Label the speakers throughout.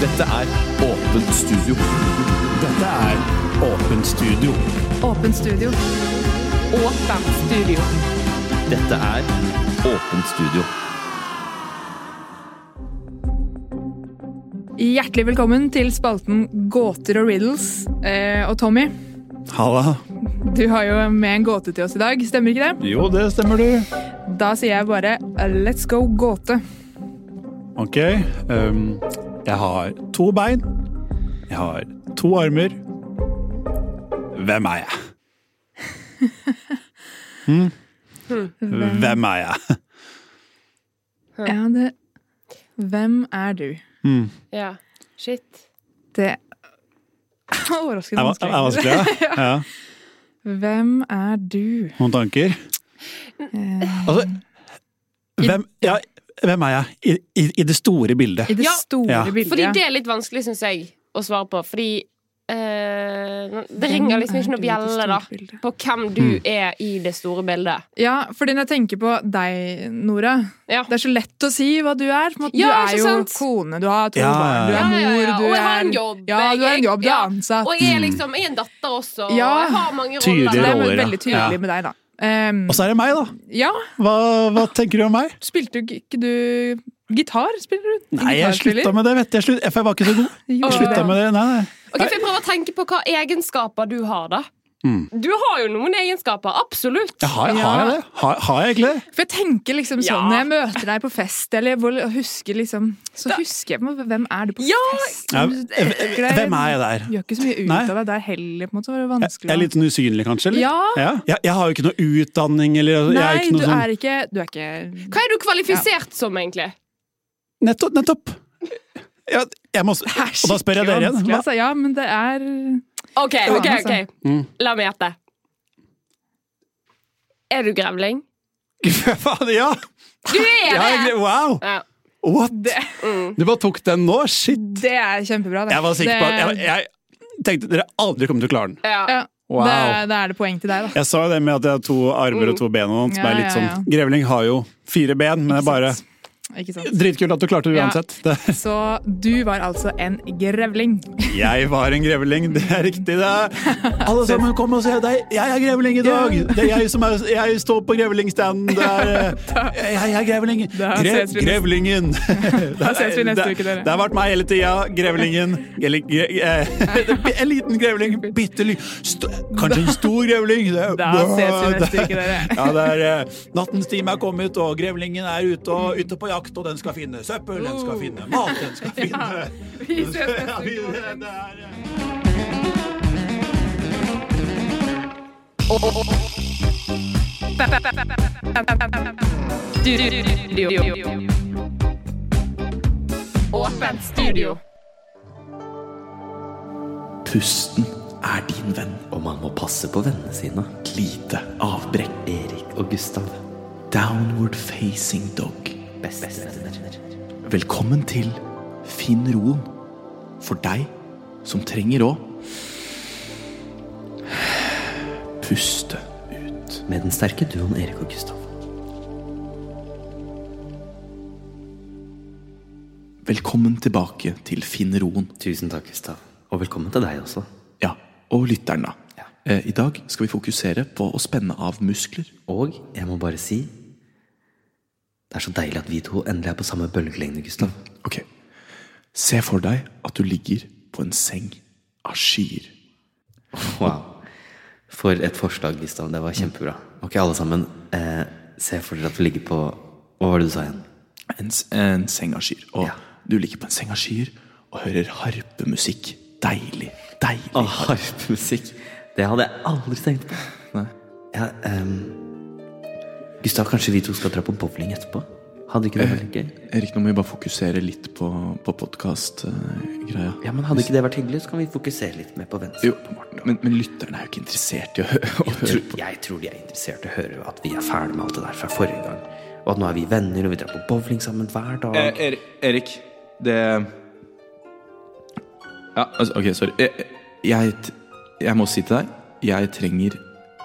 Speaker 1: Dette er Åpent studio.
Speaker 2: Dette er Åpent studio.
Speaker 3: Åpent studio. Åpent studio.
Speaker 1: Dette er Åpent studio.
Speaker 3: Hjertelig velkommen til spalten Gåter og riddles. Eh, og Tommy,
Speaker 2: Halla.
Speaker 3: du har jo med en gåte til oss i dag, stemmer ikke det?
Speaker 2: Jo, det stemmer du.
Speaker 3: Da sier jeg bare eh, let's go gåte.
Speaker 2: Ok. ehm, jeg har to bein. Jeg har to armer. Hvem er jeg? Hmm? Hvem er jeg?
Speaker 3: Ja, det Hvem er du?
Speaker 4: Ja. Shit.
Speaker 3: Det Overraskende
Speaker 2: Er va- er
Speaker 3: vanskelig.
Speaker 2: vanskelig? ja? Ja.
Speaker 3: Hvem er du?
Speaker 2: Noen tanker? Altså, hvem, ja, hvem er jeg i, i, i det store bildet?
Speaker 3: I det
Speaker 4: Ja,
Speaker 3: store
Speaker 2: ja.
Speaker 3: bildet.
Speaker 4: Fordi det er litt vanskelig, syns jeg, å svare på. Fordi eh, det ringer liksom ikke noe bjelle, da. På hvem du
Speaker 3: Mm.
Speaker 4: er i det store bildet.
Speaker 3: Ja, fordi når jeg tenker på deg, Nora
Speaker 4: Ja.
Speaker 3: Det er så lett å si hva du er. på en måte.
Speaker 4: Ja,
Speaker 3: du er
Speaker 4: ikke
Speaker 3: jo
Speaker 4: sant?
Speaker 3: kone, du har to
Speaker 2: Ja, ja,
Speaker 3: barn, du
Speaker 2: ja.
Speaker 3: er mor,
Speaker 4: Ja, ja, ja.
Speaker 3: du er
Speaker 4: Og jeg har en jobb.
Speaker 3: Ja, du har en
Speaker 4: Jeg-
Speaker 3: jobb, du
Speaker 4: ja.
Speaker 3: er ansatt.
Speaker 4: Og jeg er liksom jeg er en datter også, og
Speaker 3: Ja.
Speaker 4: jeg har mange
Speaker 2: Tydelig
Speaker 3: Så det
Speaker 2: rolle.
Speaker 3: er
Speaker 4: roller.
Speaker 2: roller, ja.
Speaker 3: veldig
Speaker 2: Ja.
Speaker 3: tydelig med deg, da. Ehm,
Speaker 2: Og så er det meg, da.
Speaker 3: ja,
Speaker 2: Hva, hva tenker du om meg?
Speaker 3: spilte jo ikke du gitar? Spiller du?
Speaker 2: Nei, jeg slutta med det, vet du. Jeg, slutt, for jeg var ikke så god.
Speaker 3: Jo,
Speaker 2: Jeg slutta med det, nei, nei.
Speaker 4: Ok, for Jeg prøver å tenke på hva egenskaper du har, da.
Speaker 2: Mm.
Speaker 4: Du har jo noen egenskaper, absolutt.
Speaker 2: Jeg har, har jeg det? Har, har jeg egentlig det?
Speaker 3: For jeg tenker liksom
Speaker 4: Ja.
Speaker 3: sånn når jeg møter deg på fest, eller hvor, og husker liksom, så husker jeg på en måte, hvem er du på
Speaker 4: Ja.
Speaker 3: fest?
Speaker 2: Ja, eh,
Speaker 3: Du elsker deg.
Speaker 2: Hvem er jeg der?
Speaker 3: Gjør ikke så mye ut
Speaker 2: Nei.
Speaker 3: av deg der heller, på en måte.
Speaker 2: Jeg
Speaker 3: Det var vanskelig.
Speaker 2: er litt sånn usynlig, kanskje? Eller?
Speaker 3: Ja.
Speaker 2: Jeg, jeg har jo ikke noe utdanning, eller jeg er
Speaker 3: Nei,
Speaker 2: ikke
Speaker 3: du
Speaker 2: noe sånn
Speaker 3: er ikke Du er ikke
Speaker 4: Hva er du kvalifisert som, egentlig?
Speaker 2: Nettopp! nettopp. Jeg, jeg må, s- og da spør jeg dere igjen.
Speaker 3: Vanskelig,
Speaker 2: Hva,
Speaker 3: altså. Ja, men det er
Speaker 4: OK, ok,
Speaker 3: Ja, altså.
Speaker 4: ok.
Speaker 2: Mm.
Speaker 4: La meg gjette. Er du grevling?
Speaker 2: Faen, ja!
Speaker 4: Du er
Speaker 2: Jeg
Speaker 4: det! Mm.
Speaker 2: har egentlig- wow!
Speaker 4: Ja.
Speaker 2: What?! Du bare tok den nå? Shit!
Speaker 3: Det er kjempebra. Det.
Speaker 2: Jeg var sikker på at
Speaker 3: Det-
Speaker 2: jeg, jeg tenkte dere aldri kommer til å klare den.
Speaker 4: Ja.
Speaker 3: ja,
Speaker 2: Wow.
Speaker 3: det, da er det poeng til deg, da.
Speaker 2: Jeg sa jo det med at jeg har to armer og to ben og noe, som
Speaker 3: Ja,
Speaker 2: er litt
Speaker 3: ja,
Speaker 2: sånn
Speaker 3: ja.
Speaker 2: Grevling har jo fire ben, men det er bare
Speaker 3: Ikke sant?
Speaker 2: Dritkult at du klarte det
Speaker 3: Ja.
Speaker 2: uansett. Det.
Speaker 3: Så du var altså en grevling.
Speaker 2: Jeg var en grevling, det er riktig det. Alle sammen, kom og se deg. Jeg er grevling i dag. Det er jeg som er, jeg står på grevlingstanden. Det er, eh, jeg er grevling.
Speaker 3: Da ses vi neste-
Speaker 2: grevlingen. Da
Speaker 3: ses vi neste uke, dere.
Speaker 2: Det har vært meg hele tida. Grevlingen. Eller gre, eh, en liten grevling. Bitte liten. Kanskje en stor grevling. Det-
Speaker 3: Da ses vi neste uke, dere.
Speaker 2: Ja, det er eh, Nattens time er kommet, og grevlingen er ute, og, ute på jakt, og den skal finne søppel, den skal finne mat, den skal finne
Speaker 3: Vi ses
Speaker 2: Ja,
Speaker 3: neste
Speaker 2: vi-
Speaker 3: uke.
Speaker 2: det er, eh.
Speaker 4: Åpent studio.
Speaker 5: Pusten er din venn, og man må passe på vennene sine. Et lite avbrekk. Erik og Gustav. Downward facing dog. Bestevenner. Velkommen til Finn roen. For deg som trenger å puste ut. Med den sterke duoen Erik og Gustav. Velkommen tilbake til Finn roen.
Speaker 6: Tusen takk, Gustav. Og velkommen til deg også.
Speaker 5: Ja, og lytteren da. Eh, I dag skal vi fokusere på å spenne av muskler.
Speaker 6: Og jeg må bare si Det er så deilig at vi to endelig er på samme bølgelengde, Gustav.
Speaker 5: Ok, se for deg at du ligger på en seng av skyer.
Speaker 6: Wow. For et forslag, Gustav. Det var kjempebra. Ok, alle sammen. Eh, se for dere at vi ligger på Hva var det du sa igjen?
Speaker 5: En, s- en seng av skyer. Og
Speaker 6: Ja.
Speaker 5: du ligger på en seng av skyer og hører harpemusikk. Deilig, deilig.
Speaker 6: Å, harpemusikk. Det hadde jeg aldri tenkt på. Ja, ehm, Gustav, kanskje vi to skal dra på bowling etterpå? Hadde ikke det vært litt gøy?
Speaker 5: Erik, nå må vi bare fokusere litt på, eh, på podcast-greia.
Speaker 6: Ja, men Hadde ikke det vært hyggelig, så kan vi fokusere litt mer på vennskap.
Speaker 5: Jo, på Morten,
Speaker 7: men, men lytteren er jo ikke interessert i å, hø- å høre
Speaker 6: Tror- Jeg tror de er interessert i å høre at vi er ferdig med alt det der fra forrige gang. Og at nå er vi venner, og vi drar på bowling sammen hver dag.
Speaker 7: Eh, er, Erik, det Ja, altså, ok, sorry. Eh, eh, Jeg, t- jeg må si til deg, jeg trenger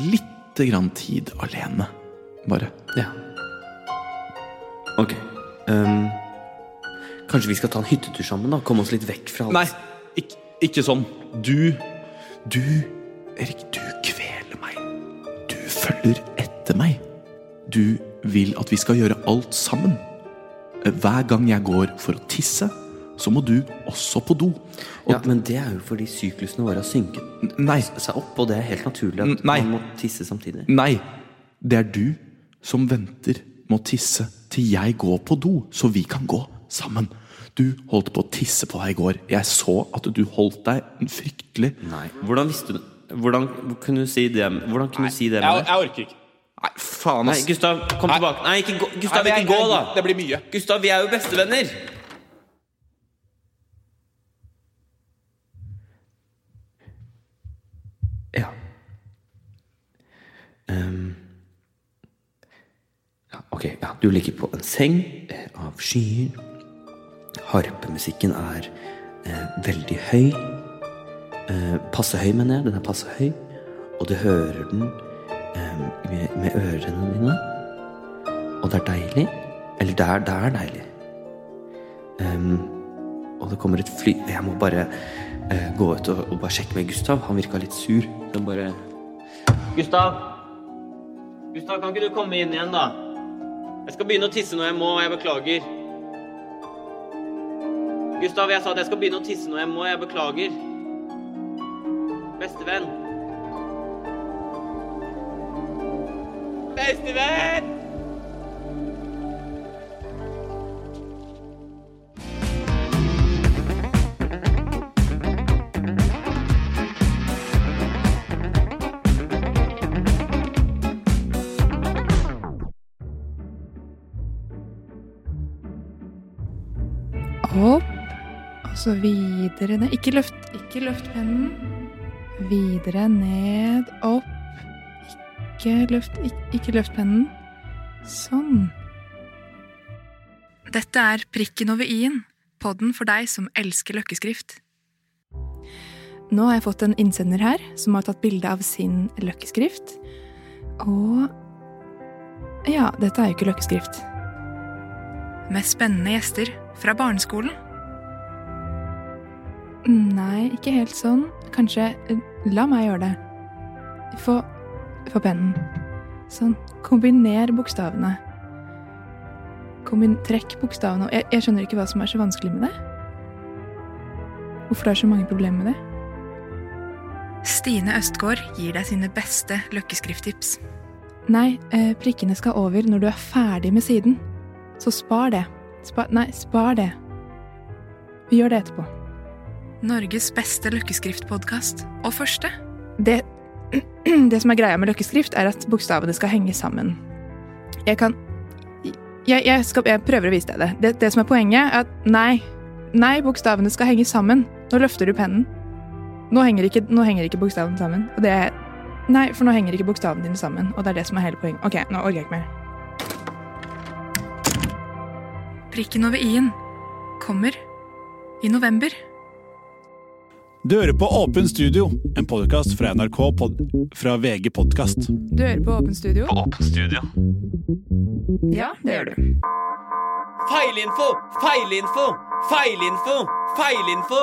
Speaker 7: lite grann tid alene. Bare.
Speaker 6: Ja. Ok. ehm, kanskje vi skal ta en hyttetur sammen, da? Komme oss litt vekk fra alt.
Speaker 7: Nei, ikke, ikke sånn. Du Du, Erik, du kveler meg. Du følger etter meg. Du vil at vi skal gjøre alt sammen. Eh, Hver gang jeg går for å tisse, så må du også på do. Og
Speaker 6: Ja, men det er jo fordi syklusene våre har synket
Speaker 7: nei,
Speaker 6: seg opp, og det er helt naturlig at
Speaker 7: Nei.
Speaker 6: man må tisse samtidig.
Speaker 7: Nei, det er du som venter med å tisse til jeg går på do, så vi kan gå sammen. Du holdt på å tisse på deg i går. Jeg så at du holdt deg fryktelig
Speaker 6: Nei. Hvordan visste du Hvordan kunne du si det, hvordan kunne du si det med det?
Speaker 7: orker ikke. Nei, faen,
Speaker 6: Nei,
Speaker 7: ass.
Speaker 6: Gustav, kom tilbake. Nei, ikke gå, Gustav,
Speaker 7: Nei,
Speaker 6: ikke gå, da.
Speaker 7: Det blir mye.
Speaker 6: Gustav, vi er jo bestevenner. Ja. Ehm. ja ok, ja, du ligger på en seng eh, av skyer. Harpemusikken er eh, veldig høy. Eh, passe høy, mener jeg. Den er passe høy. Og du hører den eh, med, med ørene dine. Og det er deilig. Eller det er, det er deilig. Ehm, og det kommer et fly Jeg må bare eh, gå ut og, og bare sjekke med Gustav. Han virka litt sur. Så jeg bare
Speaker 8: Gustav? Gustav, kan ikke du komme inn igjen, da? Jeg skal begynne å tisse når jeg må, og jeg beklager. Gustav, jeg sa at jeg skal begynne å tisse når jeg må, og jeg beklager. Bestevenn. Bestevenn!
Speaker 3: Opp, og så videre ned. Ikke løft, ikke løft pennen. Videre ned, opp. Ikke løft, ikke, ikke løft pennen. Sånn. Dette er Prikken over i-en, podden for deg som elsker løkkeskrift. Nå har jeg fått en innsender her som har tatt bilde av sin løkkeskrift. Og ja, dette er jo ikke løkkeskrift. Med spennende gjester fra barneskolen. Nei, ikke helt sånn. Kanskje eh, La meg gjøre det. Få Få pennen. Sånn. Kombiner bokstavene. Kombin trekk bokstavene jeg, jeg skjønner ikke hva som er så vanskelig med det. Hvorfor det er så mange problemer med det. Stine Østgaard gir deg sine beste løkkeskrifttips. Nei, eh, prikkene skal over når du er ferdig med siden. Så spar det. Spar, nei, spar det. Vi gjør det etterpå. Norges beste løkkeskriftpodkast, og første. Det, det som er greia med løkkeskrift, er at bokstavene skal henge sammen. Jeg kan Jeg, jeg, skal, jeg prøver å vise deg det. det. Det som er poenget, er at nei. Nei, bokstavene skal henge sammen. Nå løfter du pennen. Nå henger ikke, nå henger ikke bokstavene sammen. Og det er Nei, for nå henger ikke bokstavene dine sammen. Og det er det som er hele poenget. Ok, nå orker jeg ikke mer. Prikken over i-en kommer i november.
Speaker 2: Du hører på Åpen studio, en podkast fra NRK pod fra VG podkast.
Speaker 3: Du hører på Åpen studio? På Åpen studio. Ja, det gjør du.
Speaker 8: Feilinfo! Feilinfo! Feilinfo! Feilinfo!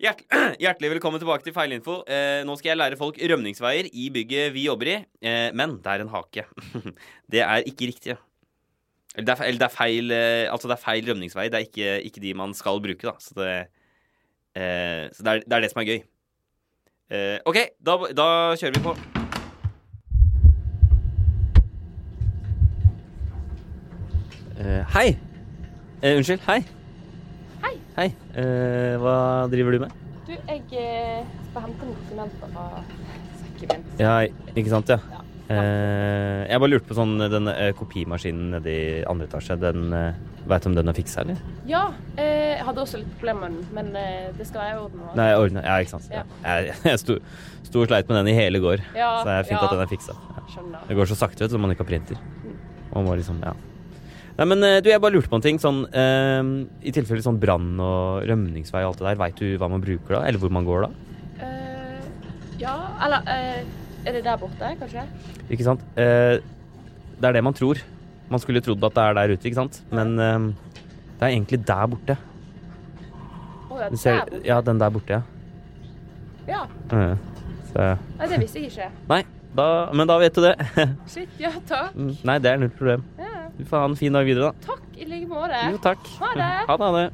Speaker 8: Hjert Hjertelig velkommen tilbake til Feilinfo. Eh, nå skal jeg lære folk rømningsveier i bygget vi jobber i. Eh, men det er en hake. det er ikke riktig. Eller det er, fe- eller det er feil eh, Altså det er feil rømningsvei. Det er ikke, ikke de man skal bruke, da. Så det, eh, så det, er, det er det som er gøy. Eh, OK, da, da kjører vi på.
Speaker 6: Eh, Hei! Eh, unnskyld, hei.
Speaker 4: Hei.
Speaker 6: Hei. Eh, hva driver du med?
Speaker 4: Du, jeg eh, skal hente noen dokumenter fra sekken min.
Speaker 6: Ja, ikke sant, ja.
Speaker 9: Eh, jeg bare lurte på sånn den eh, kopimaskinen nede i andre etasje. Den eh, Veit du om den er fiksa, eller?
Speaker 4: Ja, eh, jeg hadde også litt problemer med den, men eh, det skal være i orden. nå.
Speaker 9: Nei, jeg ordna Ja, ikke sant. Ja. Jeg, jeg sto, sto og sleit med den i hele går,
Speaker 4: Ja,
Speaker 9: så det er fint
Speaker 4: ja.
Speaker 9: at den er fiksa. Ja.
Speaker 4: Skjønner.
Speaker 9: Det går så sakte, vet du, så man ikke har printer. Man må liksom, ja. Nei, men eh, du, jeg bare lurte på en ting. Sånn, eh, I tilfelle sånn brann og rømningsvei og alt det der, veit du hva man bruker da? Eller hvor man går da?
Speaker 4: Eh, ja, eller eh, Er det der borte, kanskje?
Speaker 9: Ikke sant? Eh, det er det man tror. Man skulle trodd at det er der ute, ikke sant? Men eh, det er egentlig der borte.
Speaker 4: Å ja,
Speaker 9: Du
Speaker 4: der
Speaker 9: ser,
Speaker 4: borte.
Speaker 9: ja, den der borte, ja.
Speaker 4: Ja.
Speaker 9: Eh, så,
Speaker 4: Nei, det visste jeg ikke.
Speaker 9: nei, da, men da vet du det.
Speaker 4: Shit, ja, takk.
Speaker 9: Mm, nei, det er null problem.
Speaker 4: Ja,
Speaker 9: Du får ha en fin dag videre, da.
Speaker 4: takk i like måte.
Speaker 9: Jo, takk.
Speaker 4: Ha det.
Speaker 9: Ha det, ha det.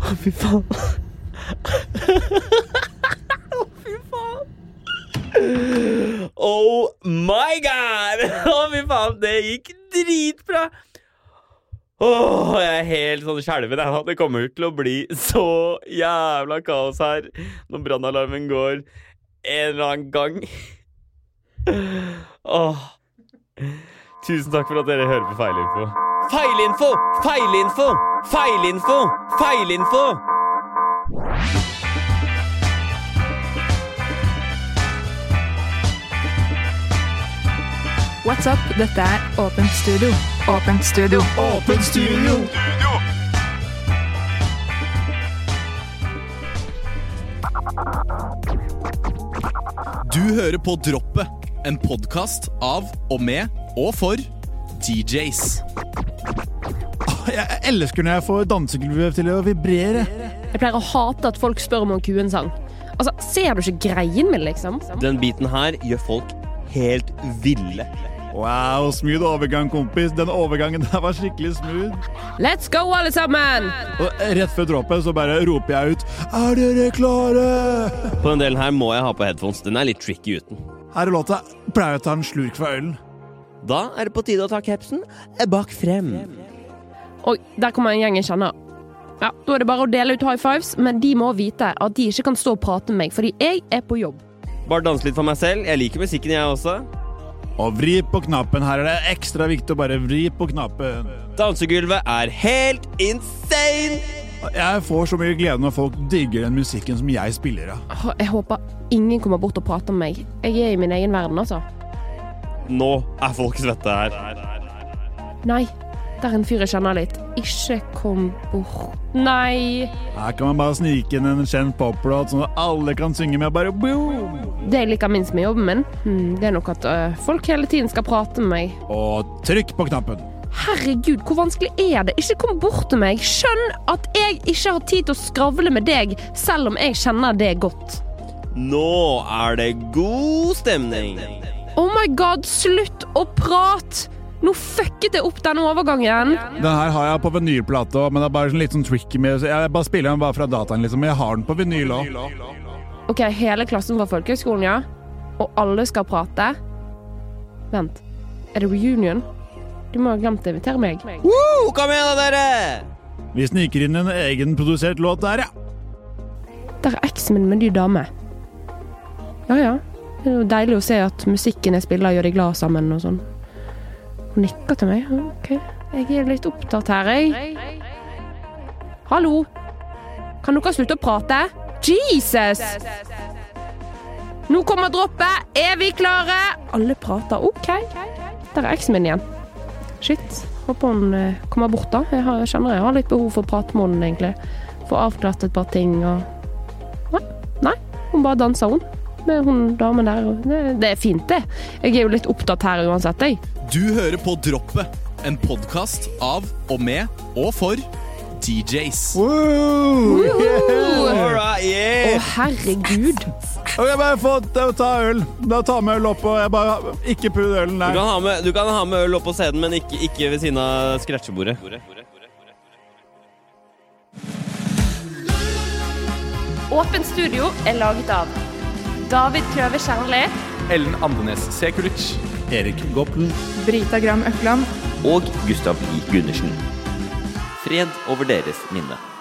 Speaker 9: Å, fy faen. Å, fy faen. Oh my god! Å, fy faen, det gikk dritbra! Åh, jeg er helt sånn skjelven. jeg nå. Det kommer til å bli så jævla kaos her når brannalarmen går en eller annen gang. Åh. Tusen takk for at dere hører på Feilinfo.
Speaker 8: Feilinfo! Feilinfo! Feilinfo! Feilinfo!
Speaker 3: What's up? Dette er Åpent studio. Åpent studio.
Speaker 2: Åpent studio!
Speaker 7: Du hører på Droppet, en podkast av og med og for DJs.
Speaker 2: Jeg elsker når jeg får dansegulvet til å vibrere.
Speaker 4: Jeg pleier å hate at folk spør om en kuen-sang. Altså, Ser du ikke greien min, liksom?
Speaker 8: Den biten her gjør folk helt ville.
Speaker 2: Wow, smooth overgang, kompis. Den overgangen der var skikkelig smooth.
Speaker 4: Let's go, alle sammen!
Speaker 2: Og rett før dråpen så bare roper jeg ut Er dere klare?
Speaker 8: På den delen her må jeg ha på headphones. Den er litt tricky uten.
Speaker 2: Her er låta. Pleier å ta en slurk fra ølen.
Speaker 8: Da er det på tide å ta capsen bak frem.
Speaker 4: Oi, der kommer en gjeng jeg kjenner. Ja, Da er det bare å dele ut high fives, men de må vite at de ikke kan stå og prate med meg, fordi jeg er på jobb.
Speaker 8: Bare danse litt for meg selv. Jeg liker musikken, jeg også.
Speaker 2: Og vri på knappen. Her er det ekstra viktig å bare vri på knappen.
Speaker 8: Dansegulvet er helt insane!
Speaker 2: Jeg får så mye glede når folk digger den musikken som jeg spiller av.
Speaker 4: Åh, Jeg håper ingen kommer bort og prater med meg. Jeg er i min egen verden, altså.
Speaker 8: Nå er folk svette her.
Speaker 4: Nei, der er en fyr jeg kjenner litt. Ikke kom bort. Nei.
Speaker 2: Her kan man bare snike inn en kjent poplåt sånn at alle kan synge med. Bare boom!
Speaker 4: Det jeg liker minst med jobben min, hmm, det er nok at øh, folk hele tiden skal prate med meg.
Speaker 2: Og trykk på knappen.
Speaker 4: Herregud, hvor vanskelig er det? Ikke kom bort til meg. Skjønn at jeg ikke har tid til å skravle med deg, selv om jeg kjenner det godt.
Speaker 8: Nå er det god stemning.
Speaker 4: Oh my god, slutt å prate! Nå fucket jeg opp denne overgangen.
Speaker 2: Den her har jeg på vinylplate òg, men det er bare sånn litt sånn tricky med så Jeg bare spiller den bare fra dataen, liksom. Men jeg har den på vinyl òg.
Speaker 4: Ok, hele klassen fra folkehøgskolen, ja. Og alle skal prate. Vent, er det reunion? Du må ha glemt å invitere meg.
Speaker 8: Woo, kom igjen, da, dere!
Speaker 2: Vi sniker inn en egenprodusert låt der, ja.
Speaker 4: Der er eksen min med en ny dame. Ja, ja. Det er jo deilig å se at musikken jeg spiller, gjør de glad sammen og sånn. Hun nikker til meg. Ja, Ok, jeg er litt opptatt her, jeg. Hallo! Kan dere slutte å prate? Jesus! Nå kommer droppet! Er vi klare? Alle prater. OK. Der er eksen min igjen. Shit. Håper hun eh, kommer bort, da. Jeg har, jeg kjenner jeg har litt behov for å prate med henne, egentlig. Få avklart et par ting og Nei, hun bare danser, hun. Med hun damen der. og Det, det er fint, det. Jeg er jo litt opptatt her uansett, jeg.
Speaker 7: Du hører på Droppet, en podkast av og med og for DJs.
Speaker 2: Woo! Yeah!
Speaker 8: Alright,
Speaker 4: Å,
Speaker 8: yeah!
Speaker 4: herregud.
Speaker 2: Og jeg bare får ta ta øl. Da tar vi øl opp, og jeg bare Ikke putt ølen
Speaker 8: Du
Speaker 2: der.
Speaker 8: kan, ha med, du kan ha med øl oppå scenen, men ikke, ikke ved siden av scratchebordet.
Speaker 4: Åpent studio er laget av David Kløve Kjernli.
Speaker 1: Ellen Andenes Sekulic.
Speaker 2: Erik Goppel.
Speaker 3: Brita Gram Økland.
Speaker 6: Og Gustav I. Gundersen.
Speaker 5: Fred over deres minne.